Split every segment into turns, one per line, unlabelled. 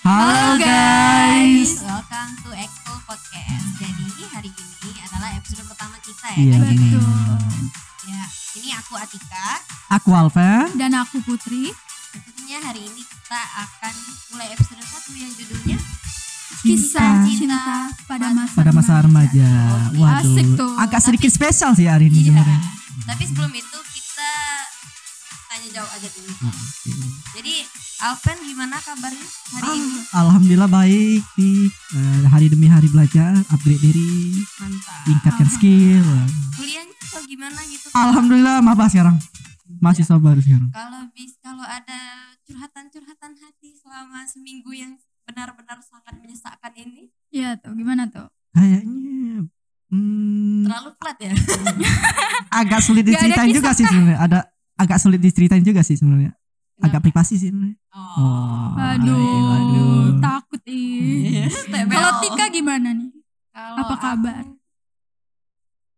Halo guys.
welcome to Expo Podcast. Jadi hari ini adalah episode pertama kita
Iya,
ya. kan?
bener.
Betul.
Ya, ini aku Atika.
Aku Alfa.
Dan aku Putri.
Dan Tentunya hari ini kita akan mulai episode satu yang judulnya
Kisah
Cinta.
cinta, pada masa
Pada masa remaja. Waduh.
Asik tuh.
Agak
Tapi-
sedikit spesial sih hari ini
Iya.
sebenarnya.
Tapi sebelum itu kita tanya jawab aja dulu.
Ah.
Jadi Alpen gimana kabarnya hari ini?
Alhamdulillah baik di eh, hari demi hari belajar, upgrade diri,
Mantap.
tingkatkan
Ah.
skill.
Kuliahnya atau gimana gitu?
Alhamdulillah maba sekarang. Masih sabar sekarang.
Kalau bis kalau ada curhatan-curhatan hati selama seminggu yang benar-benar sangat menyesakkan ini
Iya tuh, gimana tuh?
Kayaknya hmm,
terlalu pelat ya.
agak sulit
Gak ada
diceritain
kisah
juga sih sebenarnya. Ada agak sulit diceritain juga sih sebenarnya. Agak privasi sih sebenarnya.
Oh.
Aduh,
iya, aduh.
takut ih.
TBL.
Kalau Tika gimana nih?
Kalau
apa
aku-
kabar?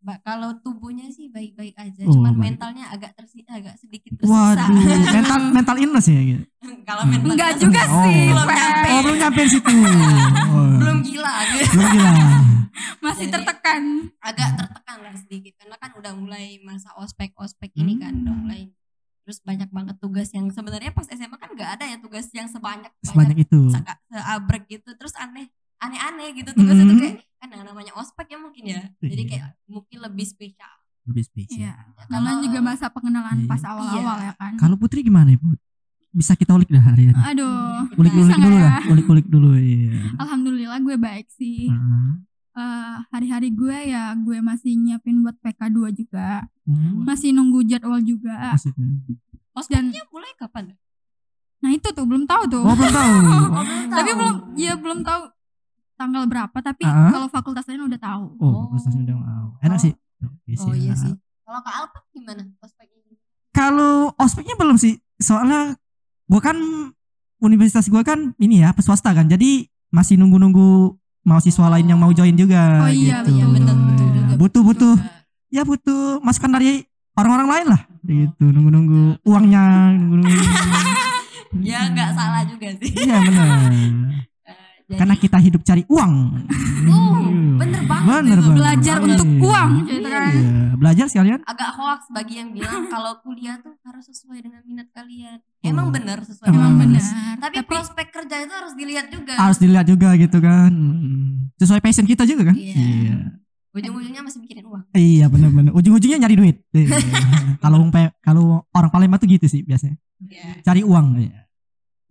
Ba- kalau tubuhnya sih baik-baik aja,
Oh,
cuman
baik.
mentalnya agak tersi agak sedikit tersiksa.
Waduh, mental mental illness ya. Gitu.
kalau mental
Enggak
kita-
juga
Oh.
sih,
Belum
Fer.
nyampe.
Oh, belum nyampe situ. Oh.
belum gila gitu.
belum gila.
Masih
Iya.
Jadi-
tertekan.
agak tertekan lah sedikit karena kan udah mulai masa ospek-ospek ini kan udah
Hmm.
mulai terus banyak banget tugas yang sebenarnya pas SMA kan nggak ada ya tugas yang sebanyak
Sebanyak itu.
seka- seabrek gitu terus aneh aneh-aneh gitu tugasnya tuh
Mhm.
kayak kan yang namanya ospek ya mungkin ya jadi
Iya.
kayak mungkin lebih spesial
Lebih spesial.
Iya. Namanya juga masa pengenalan pas awal-awal ya kan.
Iya. Kalau Putri gimana ya, Put? Bisa kita ulik dah hari ini.
Aduh,
Gitu. Nah,
Ulik-ulik
bisa
dulu
nggak
lah, ulik-ulik dulu iya.
alhamdulillah gue baik sih.
Heeh.
Eh, hari-hari gue ya gue masih nyiapin buat PK2 juga.
Hmm,
Masih nunggu jadwal juga.
maksudnya.
ospeknya mulai Iya, kapan
Nah, itu tuh belum tahu tuh.
Oh, belum tahu.
Oh,
tapi
tahu.
belum ya belum tahu tanggal berapa tapi
Ah.
kalau fakultas lain udah tahu
Oh, prestasi udah mau. Enak
Oh.
sih. Oke
oh iya
ah.
sih kalau ke Alpa gimana ospeknya
Kalau ospeknya belum sih. Soalnya gua kan universitas gua kan ini ya, swasta kan. Jadi masih nunggu-nunggu mahasiswa lain yang mau join juga
Oh iya,
gitu.
betul,
betul, betul juga.
Butuh butuh ya butuh masukan dari orang-orang lain lah gitu nunggu-nunggu uangnya nunggu-nunggu
ya nggak salah juga sih
iya benar
Eh,
karena kita hidup cari uang
Oh, bener banget
bener
itu.
banget.
belajar
Iya.
untuk uang gitu
Iya.
kan
Iya, belajar sekalian
agak hoax bagi yang bilang kalau kuliah tuh harus sesuai dengan minat kalian. Emang
Oh.
benar sesuai.
Emang
emang
dengan
benar
minat.
tapi,
Tapi, prospek kerja itu harus dilihat juga.
harus dilihat juga gitu kan Mm. sesuai passion kita juga kan
Iya. Ujung-ujungnya masih mikirin uang.
iya benar-benar ujung-ujungnya nyari duit Iya. kalau orang pe- kalau orang Palembang tuh gitu sih biasanya cari uang ya.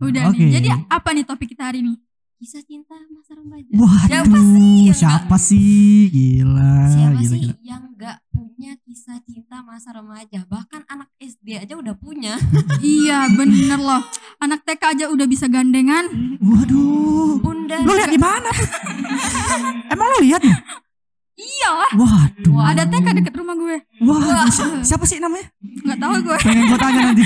udah
Oke.
nih jadi
ya,
apa nih topik kita hari ini
Kisah cinta masa remaja.
Waduh,
Siapa sih yang
siapa sih? Gila,
Siapa
gila,
sih
gila.
yang nggak punya kisah cinta masa remaja? Bahkan anak SD aja udah punya.
iya bener loh anak TK aja udah bisa gandengan
Waduh.
Bunda.
Lu lihat di mana? Put? Emang lu lihat ya?
iyalah
Waduh.
Iya ada TK deket rumah gue
Wah, si- siapa sih namanya?
nggak tahu gue
Pengen gue tanya nanti.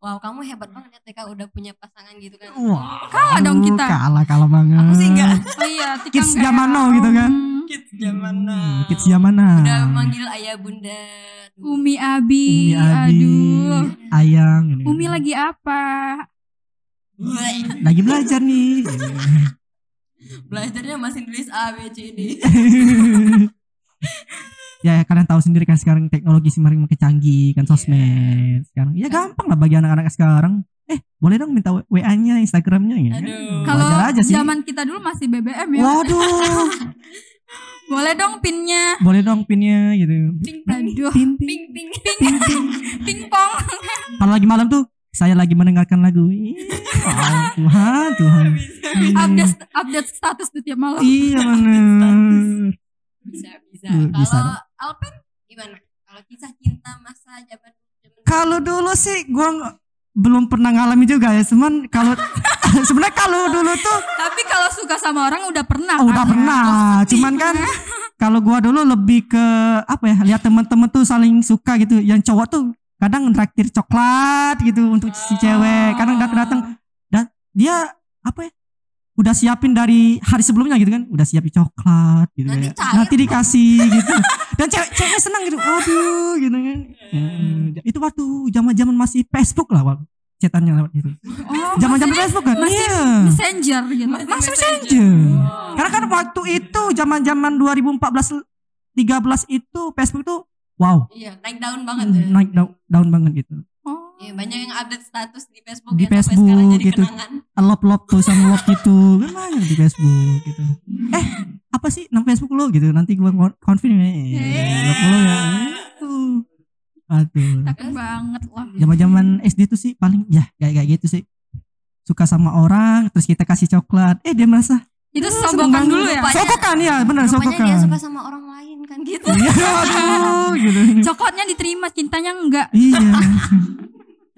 Wow, kamu hebat banget ya TK udah punya pasangan gitu kan.
Wah.
Kalah dong
aduh,
kita.
Kalah kalah banget.
Aku sih enggak.
oh iya Tika
Kids
nggak
zaman
ya.
now gitu kan.
Hmm,
Kids zaman
Hmm,
now.
Kids zaman now.
Udah manggil ayah bunda. Aduh.
Umi Abi
Umi Abi,
aduh
Ayang. gitu.
Umi lagi apa
ya.
Lagi belajar nih.
Belajarnya masih nulis A B C D.
ya kalian tahu sendiri kan sekarang teknologi semakin makin canggih kan
Iya.
sosmed sekarang ya gampang lah bagi anak-anak sekarang eh boleh dong minta wa-nya instagramnya ya kan?
Aduh.
kalau
Wajar aja sih.
zaman kita dulu masih BBM ya
waduh
boleh dong pinnya
boleh dong pinnya gitu
Ping ping
aduh
pin pin
ping ping.
pingpong
kalau lagi malam tuh saya lagi mendengarkan lagu Ih, wow, Tuhan Tuhan
update update status tuh tiap malam
iya bener
Bisa bisa.
Hmm, bisa
Kalau Alpen gimana? Kalau kisah cinta masa zaman zaman
kalau dulu sih gua nggak- belum pernah ngalami juga ya cuman kalau sebenarnya kalau dulu tuh
tapi kalau suka sama orang udah pernah
Oh, udah
kan ya?
pernah cuman kan kalau gua dulu lebih ke apa ya lihat temen-temen tuh saling suka gitu yang cowok tuh kadang ngeraktir coklat gitu untuk si cewek kadang datang datang dia apa ya udah siapin dari hari sebelumnya gitu kan udah siapin coklat gitu
Nanti
kayak.
cair.
nanti dikasih gitu dan cewek ceweknya senang gitu aduh gitu kan Ya, itu waktu zaman zaman masih Facebook lah waktu chatannya lewat itu.
Oh,
Zaman-zaman
maksudnya
Facebook kan?
masih
Iya.
Messenger gitu.
Masih messenger.
Oh,
Karena kan waktu itu zaman-zaman 2014 13 itu Facebook tuh wow,
Iya, naik daun banget ya.
naik daun, daun banget gitu.
Oh.
Iya, banyak yang update status di Facebook
Di
yang sampai
Facebook
sekarang jadi
gitu.
kenangan.
Lop-lop tuh sama lop gitu. Kan banyak di Facebook gitu. Eh, apa sih nama Facebook lo gitu? Nanti gua kon- confirm ya.
Iya.
Yeay.
Lop lo ya. Itu. Aduh.
Takut banget lah.
Zaman-zaman SD tuh sih paling ya kayak kayak gitu sih. Suka sama orang terus kita kasih coklat. Eh, dia merasa
Itu
"Ah, seneng
sobokan
banget."
dulu ya.
Rupanya-
Sokokan ya, benar
Rupanya dia
sokokan.
suka sama orang lain kan gitu.
Iya, aduh, gitu.
Coklatnya diterima, cintanya enggak.
Iya.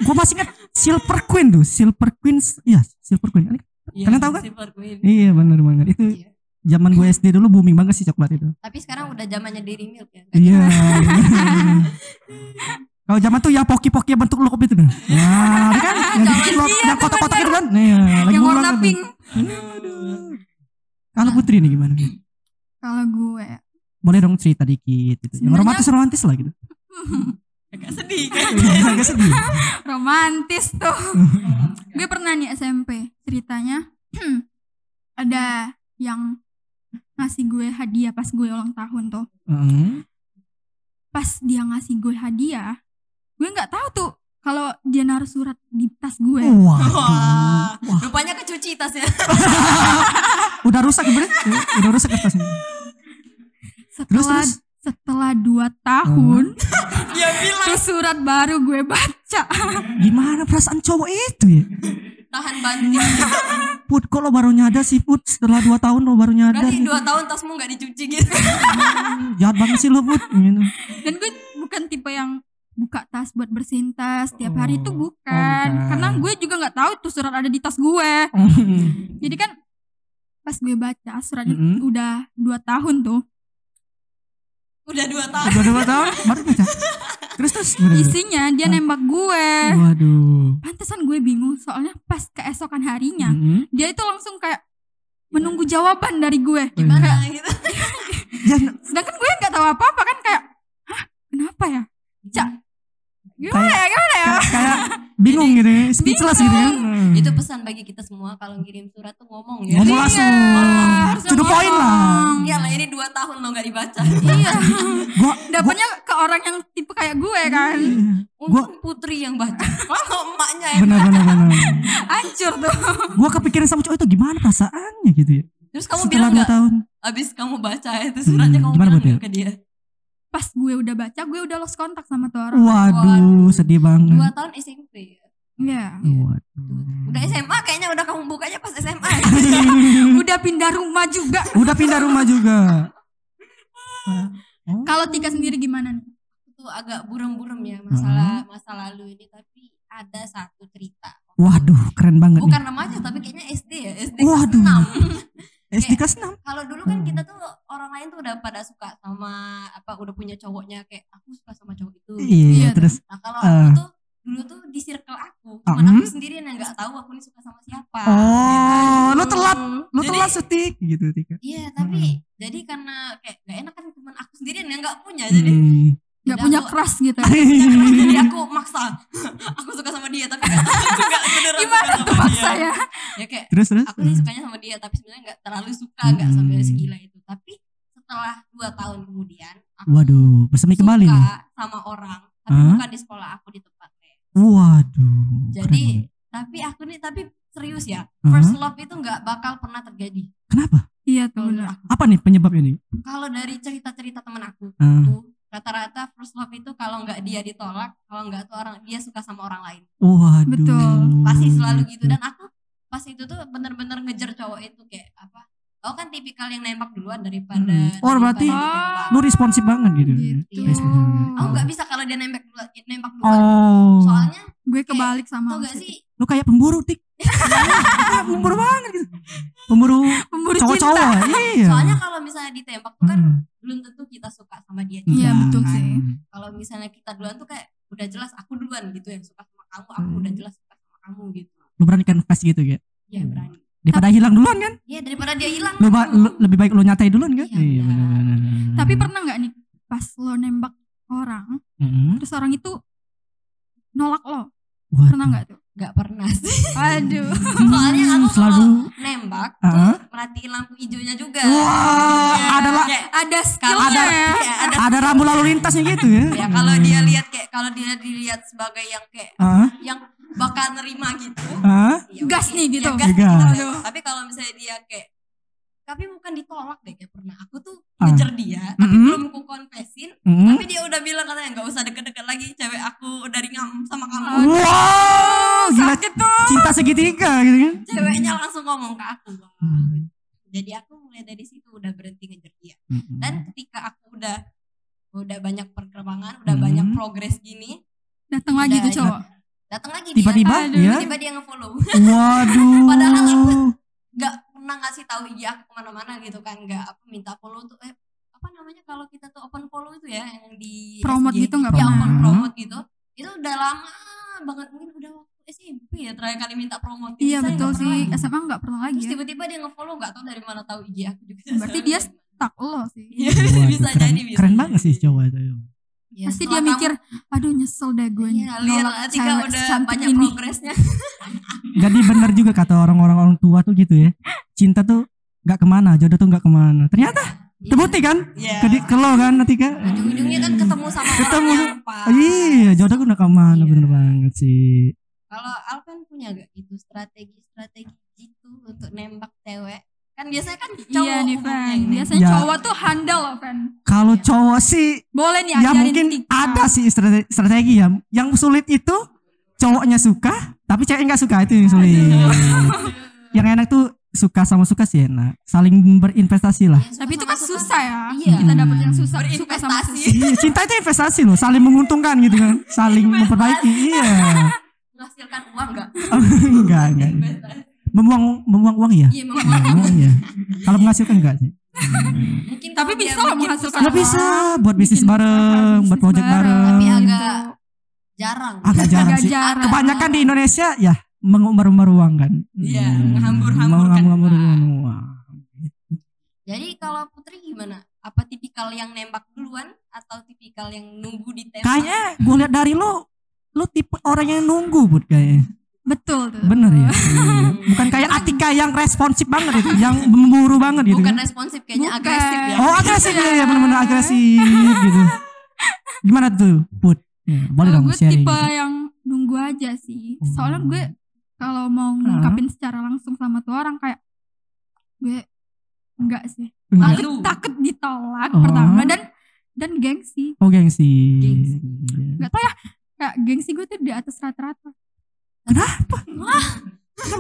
Gua masih ingat Silver Queen tuh, Silver Queen, ya Silver Queen.
Iya,
Kalian tahu kan?
Silver Queen.
Iya benar banget. Itu
Iya.
zaman gue SD dulu booming banget sih coklat itu.
Tapi sekarang udah zamannya Dairy Milk ya. Kan?
Iya. Kalau zaman tuh ya poki-poki yang bentuk lollipop itu kan. Nah, dia kan yang
Zaman
bentuk lollipop,
dia
yang
tuh
kotak-kotak
bener.
itu kan. Iya, lagi
yang
booming
warna
banget
pink.
tuh. Aduh. Kalau Putri nih gimana?
Kalau gue
Boleh dong cerita dikit gitu. Yang
Sebenarnya-
romantis-romantis lah gitu.
Agak sedih kan.
Agak sedih.
romantis tuh. gue pernah nih SMP ceritanya ada yang ngasih gue hadiah pas gue ulang tahun tuh.
Heeh.
Pas dia ngasih gue hadiah, gue nggak tahu tuh kalau dia naruh surat di tas gue.
Waduh. Wah,
Rupanya kecuci tasnya.
udah rusak bener udah rusak kertasnya terus terus
Setelah
Hmm.
setelah dua tahun,
Dia bilang
tuh surat baru gue baca.
gimana perasaan cowok itu ya
tahan banting.
put kok lo baru nyadar sih put setelah dua tahun lo baru nyadar
Berarti
gitu.
dua tahun tasmu nggak dicuci gitu.
Hmm, jahat banget sih lo put gitu.
Dan gue bukan tipe yang buka tas buat bersihin tas tiap hari itu
Oh, oh,
bukan.
bukan.
Karena gue juga nggak tahu tuh surat ada di tas gue. Jadi kan pas gue baca surat itu
Mm-mm.
udah dua tahun tuh
Udah dua tahun.
udah dua tahun baru baca terus terus gimana dulu?
isinya dia
Hah?
nembak gue.
waduh
Pantesan gue bingung soalnya pas keesokan harinya
Mm-mm.
dia itu langsung kayak menunggu jawaban dari gue.
Gimana
Iya.
gitu.
ya
Sedangkan gue nggak tahu apa-apa kan kayak hah kenapa ya? Cak.
Hmm.
Gimana ya? Gimana ya?
kayak, kayak bingung gitu ya, speechless gitu kan Hmm.
Itu pesan bagi kita semua kalau ngirim surat tuh ngomong ya.
ngomong langsung
harusnya
to the point lah
ngomong.
Iya lah ini dua tahun lo nggak dibaca.
iya.
gua gua,
Dapatnya ke orang yang tipe kayak gue
Iya
kan.
Untung putri yang baca. Kalau emaknya ya, yang
benar benar benar
Hancur tuh.
gua kepikiran sama cowok itu gimana perasaannya gitu ya
Terus kamu
setelah
bilang
dua
nggak?
tahun
Abis kamu baca ya, itu suratnya
Hmm,
kamu
gimana
bilang
buat dia?
nggak ke dia?
Pas gue udah baca gue udah lost kontak sama tuh orang.
Waduh, sedih banget.
Dua tahun SMP. ya?
Iya.
Waduh.
Udah SMA kayaknya udah kamu bukanya pas SMA.
udah pindah rumah juga.
Udah pindah rumah juga.
Kalau Tika sendiri gimana nih?
Itu agak burem-burem ya
Hmm.
masalah masa lalu ini tapi ada satu cerita.
Waduh, keren banget
Bukan remaja tapi kayaknya SD ya, SD
nih. Waduh.
6.
SD kelas 6.
Kalau dulu kan
Hmm.
kita tuh orang lain tuh udah pada suka sama apa udah punya cowoknya kayak aku suka sama cowok itu.
Iya,
Iya,
terus
Nah, kalau
Eh.
aku tuh dulu tuh di circle aku, cuman
Hmm.
aku sendiri yang nggak tahu aku nih suka sama siapa.
Oh,
Gitu.
lo telat. lo
Jadi-
telat Hmm. setik gitu Tika.
Iya, tapi jadi karena kayak gak enak kan cuman aku sendiri yang nggak punya, jadi
Hmm.
Gak
Udah,
punya
Bu.
crush gitu.
Iya,
jadi aku maksa. aku suka sama dia tapi gak tahu juga beneran
Gimana
suka
tuh
sama
paksa
dia.
ya?
Ya kayak
terus terus.
aku sih sukanya sama dia tapi sebenarnya nggak terlalu suka, nggak sampai
Hmm.
segila itu. Tapi setelah dua tahun kemudian aku
Waduh, bersemi
suka
kembali nih.
sama orang, tapi
Hah?
bukan di sekolah aku di tempat les.
Waduh. keren
Jadi
banget.
tapi aku nih tapi serius ya,
Hah?
first love itu nggak bakal pernah terjadi
kenapa?
Iya tuh
kalau
bener.
menurut aku.
Apa nih penyebabnya nih?
Kalau dari cerita-cerita temen aku,
Ah.
tuh, rata-rata first love itu kalau nggak dia ditolak, kalau nggak tuh orang dia suka sama orang lain.
Waduh.
Betul.
Pasti
Hmm,
selalu gitu dan aku pas itu tuh bener-bener ngejar cowok itu kayak apa? Aku kan tipikal yang nembak duluan daripada.
Hmm. Oh, berarti
daripada ditembak.
lu responsif banget gitu.
gitu.
Responsif
banget.
Aku nggak bisa kalau dia nembak duluan, nembak duluan.
Oh.
Soalnya
Gue kebalik sama
tau gak
Mas.
sih
lu kayak pemburu tik Kayak pemburu banget gitu pemburu
pemburu cinta.
cowok-cowok iya
Soalnya kalau misalnya ditembak tuh kan
Hmm.
belum tentu kita suka sama dia.
Iya,
Enggak,
betul
kan.
sih.
Kalau misalnya kita duluan tuh kayak udah jelas aku duluan gitu yang suka sama kamu, aku
Hmm.
udah jelas suka sama kamu gitu.
lu berani confess gitu ya
Ya
Hmm.
berani.
daripada hilang duluan kan
Iya daripada dia hilang.
lu, ba- lu- lebih baik lu nyatai duluan kan
Iya,
benar
benar.
benar.
Tapi pernah nggak nih pas lo nembak orang
Mm-mm.
terus orang itu nolak lo?
Waduh,
Pernah nggak tuh?
nggak pernah sih
Waduh.
soalnya aku
Hmm, selalu
kalau nembak
Heeh.
merhatiin lampu hijaunya juga
wah
Iya,
ada la-
kayak-
Ada
kalau
skillnya.
ada,
Ada.
iya, ada
ada rambu lalu lintasnya gitu ya
ya kalau dia lihat kayak kalau dia dilihat sebagai yang kayak
Heeh,
yang bakal nerima gitu
heeh.
ya
Gas
udah,
nih
ya
gitu.
gas
Gas.
gitu.
Aduh.
tapi kalau misalnya dia kayak tapi bukan ditolak deh kayak pernah aku tuh
Ah.
ngejar dia tapi
Mm-mm.
belum ku konfesin
Hmm.
tapi dia udah bilang katanya nggak usah deket-deket lagi cewek aku dari ngam sama kamu
Oh. wow gila
Sakit tuh.
cinta segitiga gitu kan
ceweknya langsung ngomong ke aku Wah.
Hmm.
jadi aku mulai dari situ udah berhenti ngejar dia
Hmm.
dan ketika aku udah udah banyak perkembangan udah
Hmm.
banyak progres gini
Datang lagi
Udah,
tuh cowok.
datang lagi
Tiba-tiba
dia kan.
ya?
dia?
tiba-tiba dia ngefollow
waduh
Padahal nggak pernah ngasih tahu IG aku kemana-mana gitu kan nggak apa minta follow tuh eh apa namanya kalau kita tuh open follow itu ya yang di
Promote
SG.
gitu nggak
ya
pernah.
open promote gitu itu udah lama banget mungkin udah waktu SMP ya terakhir kali minta promote
Iya
Saya
betul
nggak
sih.
pernah lagi.
SMA nggak pernah lagi.
terus
Ya.
tiba-tiba dia ngefollow nggak tahu dari mana tahu IG aku juga
Berarti dia Tak lo sih.
Iya,
Waduh,
bisa
keren,
jadi bisa
keren
jadi.
banget sih cowok itu
Ya,
Pasti dia
setelah
mikir,
kamu-
aduh nyesel deh gue
Iya, lihat
nolak
ketika
cewek
udah
secantik
banyak
ini.
progresnya
jadi benar juga kata orang-orang orang tua tuh gitu ya cinta tuh nggak kemana jodoh tuh nggak kemana ternyata terbukti kan
Iya.
ke, di- ke lo kan nanti kan
ujung-ujungnya
Iya.
kan ketemu sama
Ketemu.
orang yang pas
iya jodoh tuh nggak kemana
Ah. Iya.
bener banget sih
Kalau Alvin punya gak gitu strategi-strategi gitu untuk nembak cewek? Kan biasanya kan cowok
Iya nih
umumnya
Fan.
ini.
Biasanya
Ya.
cowok tuh handal loh Fan.
kalau
Iya.
cowok sih
Boleh nih
ya
ajarin
mungkin
Tika.
ada sih strate- strategi ya yang sulit itu cowoknya suka tapi cewek nggak suka itu yang sulit yang enak tuh suka sama suka sih enak saling berinvestasi lah
Iya, suka
Tapi itu
sama
kan
suka.
susah ya.
Iya.
Kita dapet yang susah, suka sama
Berinvestasi.
susah.
Iya, cinta itu investasi loh saling menguntungkan gitu kan saling memperbaiki iya
Menghasilkan uang gak?
enggak enggak membuang membuang uang ya
Iya memang.
membuang uang ya kalau menghasilkan enggak sih
Mungkin
Tapi
kalau
bisa
dia
loh
bikin
menghasilkan
ya
usaha,
bisa buat bisnis
Bikin
bareng
usaha,
buat
bisnis Gitu.
project bareng
Tapi agak jarang.
agak jarang
Agak
sih
jarang.
kebanyakan di Indonesia ya mengumbar-umbar uang kan
Iya,
Hmm,
menghambur-hamburkan
menghambur-hamburkan uang
Jadi kalau Putri gimana? Apa tipikal yang nembak duluan atau tipikal yang nunggu ditembak?
kayaknya gue lihat dari lo lo tipe orang yang nunggu bud kayaknya
Betul tuh.
bener ya Iya.
Hmm.
bukan kayak Atika yang responsif banget itu yang memburu banget gitu
bukan
kan.
responsif kayaknya
Bukan.
agresif ya.
oh agresif ya, ya bener-bener agresif gitu gimana tuh bud ya, boleh
Kalau
dong
gue
sharing
tipe
gitu.
yang nunggu aja sih.
Oh.
Soalnya gue kalau mau ngungkapin secara langsung sama tuh orang kayak gue enggak sih.
Enggak.
Takut, takut ditolak
Oh.
pertama dan dan gengsi.
oh gengsi
Gengsi.
Iya.
Enggak tau ya kayak gengsi gue tuh di atas rata-rata.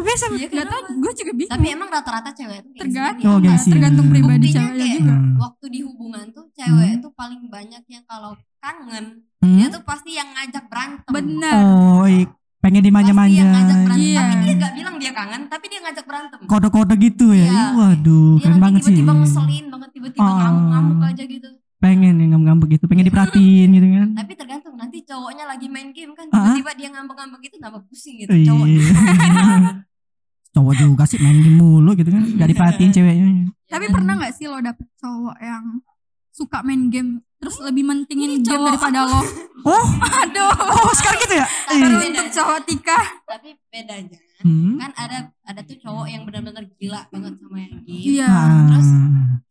biasa
Iya,
Enggak tau
kenapa?
gue juga bingung.
Tapi emang rata-rata cewek itu kayak
tergantung
gitu.
Oh, Hmm.
Mbak.
gengsi.
tergantung
Hmm.
pribadi
Buktinya
ceweknya
kayak- gitu.
juga.
Nah.
waktu di hubungan tuh cewek tuh paling banyak yang kalau kangen
Hmm?
dia tuh pasti yang ngajak berantem
Benar.
oh i- pengen
pasti
dimanja-manja
yang ngajak berantem
Iya.
tapi dia gak bilang dia kangen tapi dia ngajak berantem
kode-kode gitu ya
Iya.
Ih, waduh
dia
keren
nanti
banget sih
tiba-tiba ngeselin banget tiba-tiba
Oh.
ngamuk-ngamuk aja gitu
pengen yang ngambek-ngambek gitu pengen diperhatiin gitu kan
tapi tergantung nanti cowoknya lagi main game kan
Ah.
tiba-tiba dia ngambek-ngambek gitu nambah pusing gitu cowok
Iya. cowok juga sih main game mulu gitu kan gak diperhatiin
Iya.
ceweknya iya.
Tapi
Ya.
pernah nggak sih lo dapet cowok yang suka main game terus lebih mentingin
Ini
game
cowok
daripada lo?
oh
Aduh.
oh sekarang gitu ya Iya.
Baru untuk cowok Tika.
tapi bedanya
Hmm.
kan ada ada tuh cowok yang benar-benar gila banget sama yang game
Iya.
Ah.
Nah, terus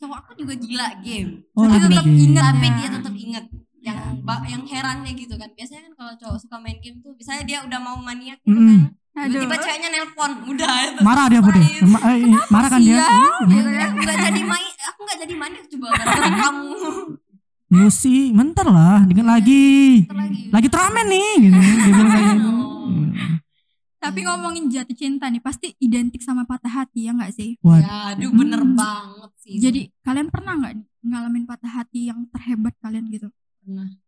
cowok aku juga gila game
Oh,
tapi,
lebih
tetap
game.
ingat tapi
Ya.
dia tetap ingat yang ba- yang herannya gitu kan biasanya kan kalau cowok suka main game tuh misalnya dia udah mau maniak gitu
Mm-mm.
kan
Aduh.
tiba-tiba ceweknya nelpon udah itu
marah dia putih
Lain.
Ma- eh, marah kan dia
Siang, gitu
Aku
kan.
nggak jadi main aku nggak jadi maniak coba gara-gara kamu
lu sih bentar lah dikit lagi
Ntar lagi
lagi teramen nih gitu dia bilang kayak gitu
Tapi ngomongin jatuh cinta nih pasti identik sama patah hati ya nggak sih?
Wah,
ya aduh bener
Mm.
Hmm.
banget sih
Jadi kalian pernah nggak ngalamin patah hati yang terhebat kalian gitu?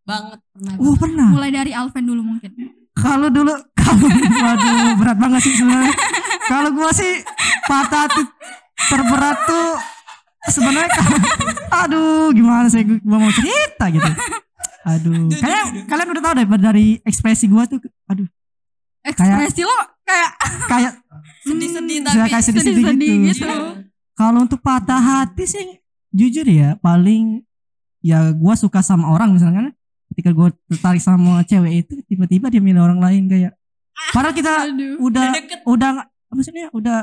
banget pernah
oh
banget.
pernah
Mulai dari Alven dulu mungkin.
kalau dulu kalau waduh berat banget sih sebenarnya kalau gua sih patah hati terberat tuh sebenarnya kalau aduh gimana sih gua mau cerita gitu aduh kalian kalian udah tahu deh dari ekspresi gua tuh aduh
Ekspresi lo kayak
kayak
sedih-sedih
Hmm,
tapi iya.
kayak sedih-sedih
sedih-sedih
gitu.
gitu.
kalau untuk patah hati sih jujur ya paling ya gua suka sama orang misalkan ketika gua tertarik sama cewek itu tiba-tiba dia milih orang lain kayak Padahal kita
Aduh.
udah
deket.
udah nge- maksudnya udah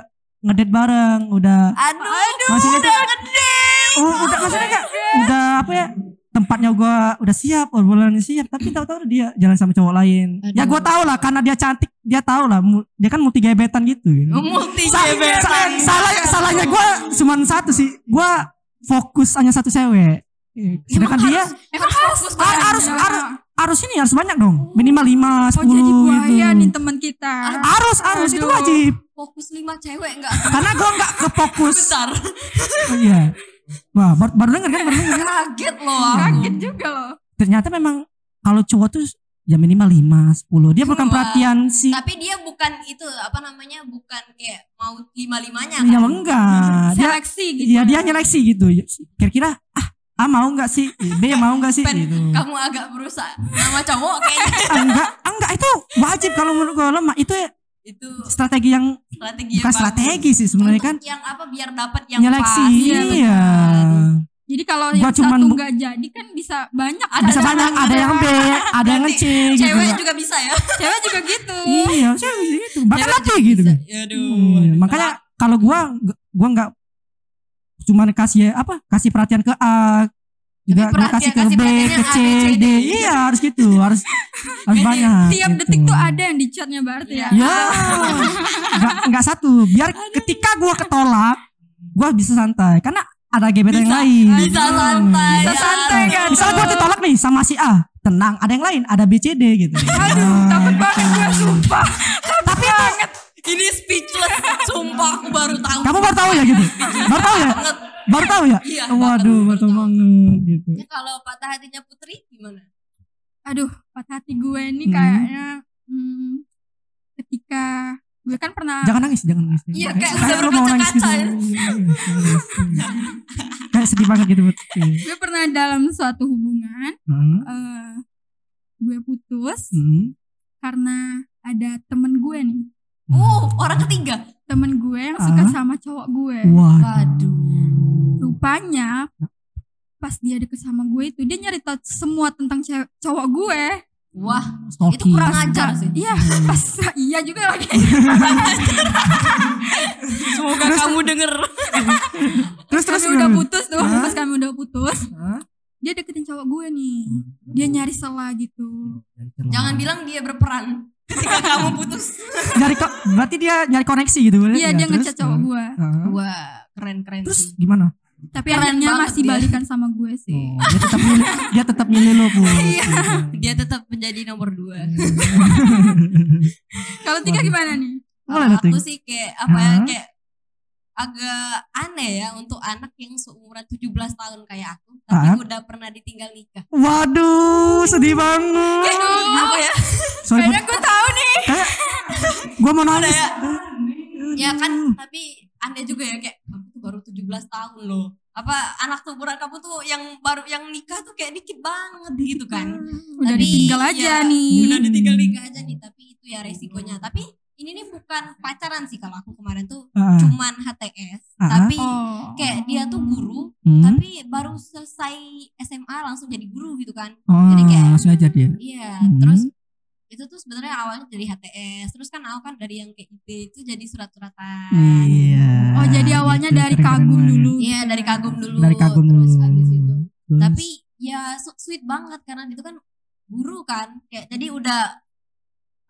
ngedate bareng, udah
Aduh,
maksudnya tuh-
gede.
oh, udah maksudnya kayak udah apa ya? Tempatnya gua udah siap, obrolannya siap, tapi tahu-tahu dia jalan sama cowok lain. Ya
Aduh.
gua tau lah karena dia cantik, dia tau lah mu- dia kan multi gebetan gitu.
Multi
Sa- salah,
gebetan.
salah, ya, salahnya gua cuma satu sih. Gua fokus hanya satu cewek. Iya, Sedangkan
Emang
dia
Emang harus
Ah, harus
Iya.
harus harus ini harus banyak dong. Minimal 5
mau jadi
10
buaya
gitu.
nih teman kita.
Harus harus itu
Aduh.
wajib.
fokus lima cewek enggak
Karena gua nggak kefokus.
besar.
Oh, Iya. Wah, baru, baru denger kan baru denger.
Kaget loh. aku.
Kaget
ah.
juga loh.
Ternyata memang kalau cowok tuh ya minimal 5 10. Dia bukan
Wah.
perhatian sih.
Tapi dia bukan itu apa namanya? Bukan kayak mau lima-limanya
Ya
kan.
enggak. Dia
Seleksi gitu.
ya dia nyeleksi gitu. Kira-kira ah A mau nggak sih? B mau nggak sih?
Pen,
Gitu.
kamu agak berusaha nama cowok kayaknya
Ah, enggak ah, enggak itu wajib kalau menurut gue lemah itu ya
itu
strategi yang
strategi yang
bukan
bagus.
strategi sih sebenarnya
Iya, Untuk
kan
yang apa biar dapat yang
nyeleksi
pas
iya,
Jadi kalau
Gua
yang
cuman
satu
bu-
nggak jadi kan bisa banyak.
ada
yang-
banyak ada yang B ada yang C gitu
cewek
Kak.
juga bisa ya
Cewek juga gitu.
iya cewek gitu bahkan
Cewek
laki gitu
bisa.
kan Iya, makanya kalau gua gua nggak cuman kasih apa kasih perhatikan ke A juga gua
perhatian-
kasih ke
kasih
B
perhatiannya
ke
A,
C
B, C,
D
D.
iya harus gitu harus harus
Jadi
banyak
Tiap
gitu.
detik tuh ada yang dicatnya berarti ya.
ya nggak nggak satu biar ketika gua ketolak gua bisa santai karena ada gebetan yang
Bisa-
lain Hmm.
bisa santai,
bisa
ya.
santai kan
Aduh.
misalnya gua ditolak nih sama si A tenang ada yang lain ada B C D gitu
Aduh, takut banget gue sumpah.
tapi
ini speechless sumpah aku baru tahu
kamu baru tahu ya gitu baru tahu ya
banget
baru tahu ya
Iya,
waduh
baru
baru tahu
tahu.
banget gitu
Ya, kalau patah hatinya putri gimana
Aduh, patah hati gue ini
Hmm.
kayaknya hmm, ketika gue kan pernah
jangan nangis jangan nangis
Iya,
Jangan
kayak
nangis.
udah ya.
Kayak lu mau nangis gitu.
berkaca-kaca
Iya, jangan nangis. kayak sedih banget gitu Put. Iya.
gue pernah dalam suatu hubungan
Hmm,
eh gue putus
hmm.
karena ada temen gue nih
uh orang ketiga
temen gue yang suka
Ah.
sama cowok gue
waduh
Waduh.
rupanya pas dia deket sama gue itu dia nyari tau semua tentang cew- cowok gue
wah itu
stalking
kurang ajar sih
iya
Hmm.
pas iya juga lagi
Oh,
semoga kamu denger
terus terus
kami udah
gimana?
putus tuh
Ah.
pas kami udah putus
Hah?
dia deketin cowok gue nih dia
Hmm.
nyari salah gitu
jangan bilang dia berperan ketika kamu putus
nyari ko- berarti dia nyari koneksi gitu boleh?
iya
Iya,
dia
terus,
ngecat cowok
eh,
gue
eh,
Iya. wah keren keren
terus gimana
tapi
Keren
akhirnya
banget
masih
dia.
balikan sama gue sih
Iya.
Oh, dia tetap milih dia tetap milih lo bu Iya.
dia tetap menjadi nomor dua
kalau tiga
Waduh.
gimana nih
Boleh
Kalau
lah, Ting.
aku sih kayak apa ya
Hah?
kayak agak aneh ya untuk anak yang seumuran 17 tahun kayak aku tapi
Hah?
udah pernah ditinggal nikah.
waduh sedih banget
Aduh, apa ya?
sorry Put.
kayaknya gue tahu nih
gua mau nangis Iya.
Ada Ya
Hmm.
kan, tapi aneh juga ya kayak kamu tuh baru 17 tahun loh. Apa anak seumuran kamu tuh yang baru yang nikah tuh kayak dikit banget gitu kan.
udah
Tapi,
ditinggal aja
ya,
nih
Udah ditinggal nikah aja nih, tapi itu ya resikonya. Tapi ini nih bukan pacaran sih kalau aku kemarin tuh
Ah,
cuman HTS,
Ah.
tapi
oh
kayak dia tuh guru
hmm?
tapi baru selesai SMA langsung jadi guru gitu kan
Oh,
jadi kayak-
langsung aja dia
iya
Hmm.
terus itu tuh sebenarnya awalnya dari HTS terus kan aku kan dari yang kayak IT itu jadi surat-suratan
Iya.
Oh jadi awalnya
Gitu,
dari
keren-keren
kagum
banget.
dulu.
iya dari kagum dulu
Dari kagum
terus
dulu.
habis itu
Terus,
tapi ya so- sweet banget karena itu kan guru kan kayak jadi udah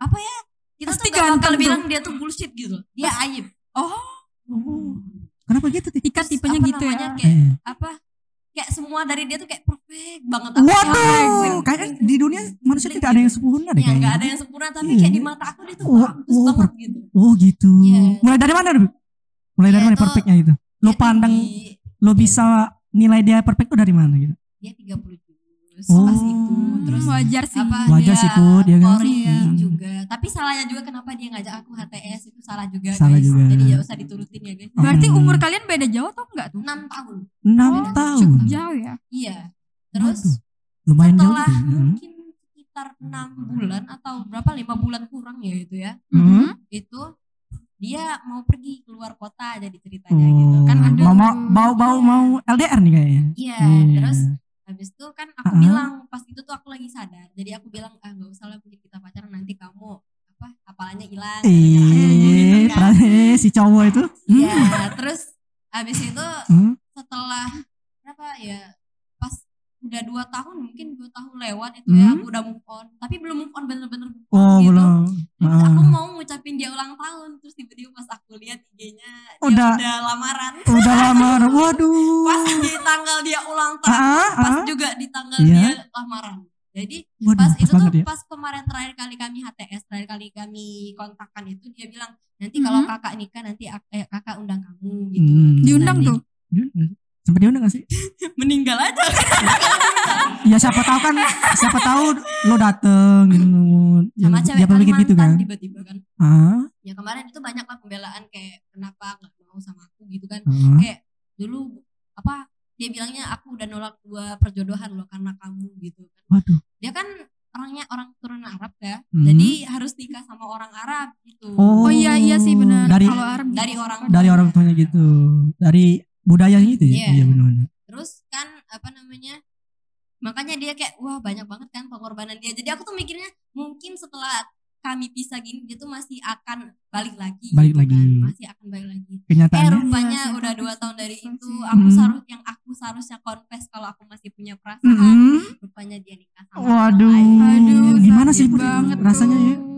apa ya kita
Pasti
kan
tuh gak bakal
ganteng tuh.
bilang dia tuh bullshit gitu dia aib
oh, kenapa gitu Tik?
Tika tipenya
Apa
gitu
namanya,
ya.
kayak
Eh.
apa kayak semua dari dia tuh kayak perfect banget Apa yang
Waduh,
baik,
kayaknya di dunia manusia
Klik
tidak ada yang
gitu.
sempurna deh
ya nggak ada
kayaknya. Iya.
yang sempurna tapi kayak di mata aku dia tuh
Wah,
bagus
wah,
banget gitu
Oh gitu.
Iya.
Mulai dari mana, Beb? Mulai dari mana
Iya, itu- iya,
perfectnya itu? Lo
Dia tuh
pandang,
di-
lo bisa nilai dia perfect itu dari mana gitu?
dia 30 jurus
Oh.
pas itu terus
Terus Hmm, wajar sih.
apa
Wajar
dia
sih, Put, ya kan?
Korea
Hmm.
juga tapi salahnya juga kenapa dia ngajak aku HTS itu salah juga
Salah
guys
juga.
jadi ya usah diturutin ya guys
Oh.
Berarti
Hmm.
umur kalian beda jauh atau enggak tuh?
6 tahun
6
Oh,
tahun.
Cukup jauh ya.
iya terus
Waduh, Lumayan jauh
setelah
gitu. Heeh.
mungkin sekitar 6 bulan atau berapa 5 bulan kurang ya itu ya
Mm-hmm.
Hmm.
itu dia mau pergi keluar kota jadi ceritanya gitu
Oh,
kan aduh
mau mau mau mau mau LDR nih kayaknya.
iya
Iya.
terus habis itu kan aku
Ah.
bilang pas itu tuh aku lagi sadar jadi aku bilang ah nggak usah lah mungkin kita pacaran nanti kamu apa apalannya hilang gitu
Ih,
gara-gara aku
pra- Iya. Eh, si cowok itu.
gitu kan. Iya, terus abis itu
Hmm?
setelah berapa ya pas udah dua tahun mungkin dua tahun lewat itu ya
Hmm.
aku udah move on tapi belum move on bener-bener move on
Oh,
gitu.
belum.
Terus
Ah.
aku mau ngucapin dia ulang tahun terus tiba-tiba pas aku lihat IG-nya dia
Udah.
udah. lamaran
Udah lamar. Waduh.
pas di tanggal dia ulang
Ah,
tahun
ah,
pas
ah.
juga di tanggal
Iya.
dia lamaran jadi
Waduh,
pas
pas
itu tuh
banget ya.
pas kemarin terakhir kali kami HTS terakhir kali kami kontakkan itu dia bilang nanti
Mhm.
kalau kakak nikah nanti ak- eh, kakak undang kamu gitu
Mm-hmm. Hmm.
diundang
Nanti
tuh
Sampai diundang gak sih?
meninggal aja
Ya siapa tahu kan, siapa tahu lo dateng gitu.
sama
Ya,
cewek
dia berpikir gitu
Kalimantan
kan.
tiba-tiba kan
Ah,
ya kemarin itu banyak lah pembelaan kayak kenapa nggak mau sama aku gitu kan
ah.
dulu apa dia bilangnya aku udah nolak dua perjodohan loh karena kamu gitu kan
Waduh.
dia kan orangnya orang keturunan Arab ya
Hmm.
jadi harus nikah sama orang Arab gitu
Oh,
Oh iya, iya sih, benar.
Dari
Kalau Arab
dari orang
dari orang tuanya gitu. Dari budaya gitu ya.
Iya.
Iya benar.
terus kan apa namanya makanya dia kayak wah banyak banget kan pengorbanan dia jadi aku tuh mikirnya mungkin setelah kami pisah gini dia tuh masih akan balik lagi
Balik
gitu kan.
lagi.
masih akan balik lagi eh
Kenyataannya
rupanya
Iya sih,
udah
tapi
dua tahun dari
susah
itu
sih.
aku
Hmm.
seharus yang aku seharusnya confess kalau aku masih punya perasaan
Mm-mm.
rupanya dia nikah sama orang
Hmm. Waduh.
lain.
aduh
Gimana
sakit
sih Put?
banget
rasanya ya?
tuh.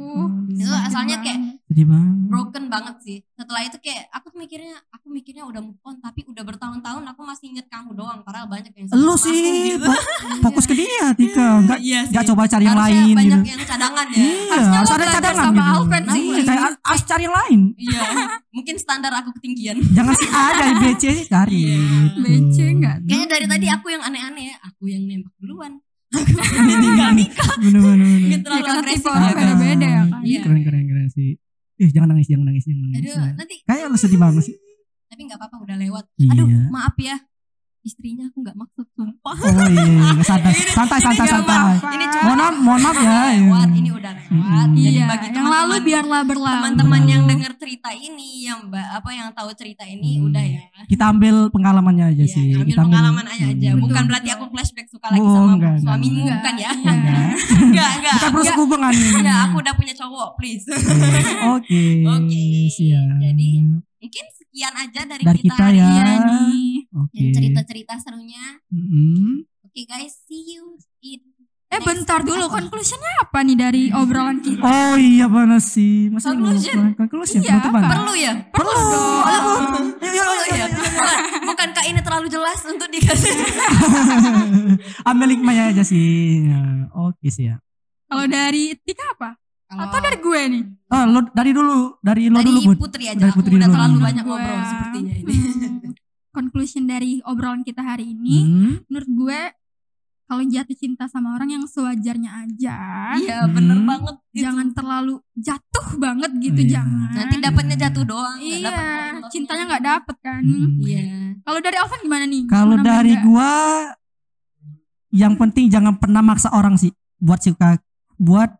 itu
Aduh,
asalnya kayak
Sedih banget.
broken banget sih setelah itu kayak aku mikirnya aku mikirnya udah move on tapi udah bertahun-tahun aku masih inget kamu doang padahal banyak yang sama
Lu
Iya.
aku
sih
gitu.
fo- fokus ke dia Tika, enggak
Iya sih.
enggak coba cari yang
Harusnya
lain
banyak
gitu.
yang cadangan ya
Iya,
Harusnya
harus
lu
ada
belajar
cadangan
sama
gitu.
Alven sih.
Iya, kayak har- harus cari yang lain.
iya mungkin standar aku ketinggian
Jangan si A dari BC cari.
Iya.
gitu.
BC enggak tuh.
kayaknya dari tadi aku yang aneh-aneh ya aku yang nembak duluan aku yang ditinggal nikah
Bener bener. bener.
Gitu, terlalu
karena
agresif
tipe orang
ya, kan.
beda-beda ya kan.
Iya.
Ah, Keren keren keren sih. Eh jangan nangis jangan nangis jangan nangis.
aduh nanti
Kayak lu sedih banget sih.
tapi nggak apa-apa udah lewat aduh
Iya.
maaf ya istrinya aku nggak maksud sumpah
Oh iya, santai, santai, santai,
Ini cuma-
santai.
ini
Mohon
cuma
maaf, mohon maaf ya.
udah
iya. Hmm.
lewat ini udah lewat
Mm-mm.
jadi
Iya,
bagi
yang lalu
teman-teman
biarlah berlalu.
teman-teman yang dengar cerita ini yang mbak apa yang tahu cerita ini
Hmm.
udah ya
Kita ambil pengalamannya aja
Ya,
sih.
ambil
Kita
pengalaman aja aja
Hmm.
bukan
Betul.
berarti aku flashback suka lagi
Oh,
sama
enggak, enggak,
suamimu
enggak.
bukan ya
Enggak.
Enggak.
enggak enggak
Iya. Kita perlu
enggak.
hubungan ini.
Enggak, Iya. aku udah punya cowok please
Oke.
Oke,
Siap.
jadi mungkin sekian aja dari,
Dari
kita,
kita
hari
ya.
ini
Iya nih.
Oke.
dan cerita-cerita serunya
Mm-mm.
oke guys see you in
Eh
next
bentar dulu,
episode.
conclusionnya apa nih dari obrolan kita?
Oh iya benar sih. Masa
Conclusion.
ini mau- conclusion
Iya,
penutupan.
perlu ya
Perlu. Ayo, ayo,
perlu
ayo,
ya
ayo.
bukan bukankah ini terlalu jelas untuk dikasih
Ambil hikmahnya aja sih. Ya, Oke siap.
Kalau dari Tika apa? Atau dari gue nih?
Ah, lo dari dulu, dari lo
Dari
dulu, Bud.
Putri aja
Dari
aku
Putri
udah
dulu.
terlalu
Hmm.
banyak
Gua-
ngobrol sepertinya ini
Hmm. Conclusion dari obrolan kita hari ini,
Hmm.
menurut gue kalau jatuh cinta sama orang yang sewajarnya aja,
iya bener
Hmm.
banget itu.
jangan terlalu jatuh banget gitu,
Iya.
jangan.
nanti dapatnya jatuh doang nggak
iya,
dapet love-nya.
cintanya nggak dapet kan.
Hmm.
iya
Kalau dari Alvan gimana nih?
Kalau
Menurut
dari
Anda?
gua yang penting jangan pernah maksa orang sih buat suka buat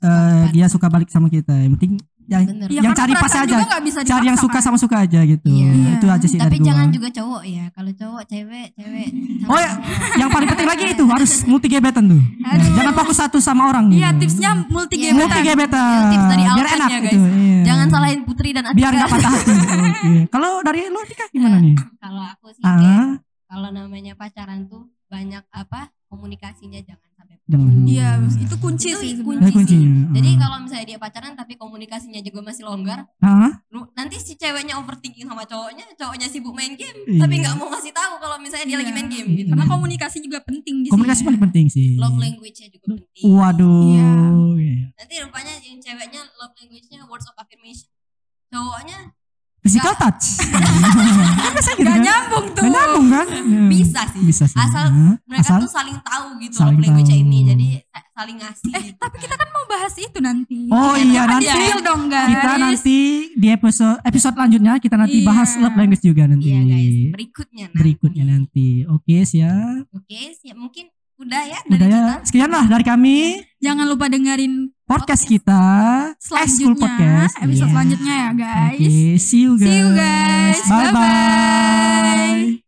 eh, dia suka balik sama kita. Yang penting yang,
bener
Ya,
yang
karena
cari pas
perasaan
aja.
juga nggak bisa
cari yang
dipaksa,
suka
kan?
sama suka aja gitu.
Iya.
Itu aja sih
tapi
dari gua.
jangan juga cowok ya kalau cowok cewek cewek sama
Oh, ya.
cowok.
Yang paling penting lagi itu harus multi gebetan tuh. Ya,
Aduh.
jangan fokus satu sama orang.
Iya,
gitu.
tipsnya multi
Iya.
gebetan.
multi gebetan.
Itu tips dari
Biar
Alvan
enak
ya,
gitu.
guys.
Iya.
jangan salahin Putri dan Atika
Biar nggak patah hati. Oke. Kalau dari lu Tika gimana
Iya.
nih?
kalau aku sih kayak
Ah,
kalau namanya pacaran tuh banyak apa komunikasinya jangan sampai
jangan.
Iya, itu kunci
Itu
sih.
kunci.
Nah, kuncinya.
jadi
Ah.
kalau misalnya dia pacaran tapi komunikasinya juga masih longgar
Ah,
lu nanti si ceweknya overthinking sama cowoknya cowoknya sibuk main game
Iya.
tapi nggak mau ngasih tahu kalau misalnya dia
Iya.
lagi main game
Iya.
gitu
Karena komunikasi juga penting di sini.
komunikasi paling penting sih.
love language-nya juga penting
Waduh.
Iya.
Iya.
nanti rupanya yang ceweknya love language-nya words of affirmation cowoknya
Physical touch. Kan biasa gitu
Gak
kan?
nyambung tuh.
Gak nyambung kan? Iya.
bisa sih
Bisa sih.
asal
Hah?
mereka
Asal-
tuh saling tahu gitu
Saling
love language-nya
tahu.
ini jadi sa- saling ngasih gitu
Eh, tapi kita kan mau bahas itu nanti.
Oh iya
Kan
nanti
di-spill dong, guys.
kita nanti di episode episode selanjutnya kita nanti
Iya.
bahas love language juga nanti.
iya guys berikutnya nanti.
Berikutnya nanti. Oke, siap.
oke siap mungkin udah ya dari
Udah ya.
kita
Sekianlah dari kami
Jangan lupa dengerin
podcast kita. School
selanjutnya.
Podcast,
Episode
iya.
selanjutnya ya, guys.
Oke, see you guys.
See you guys.
Bye bye.
Bye-bye.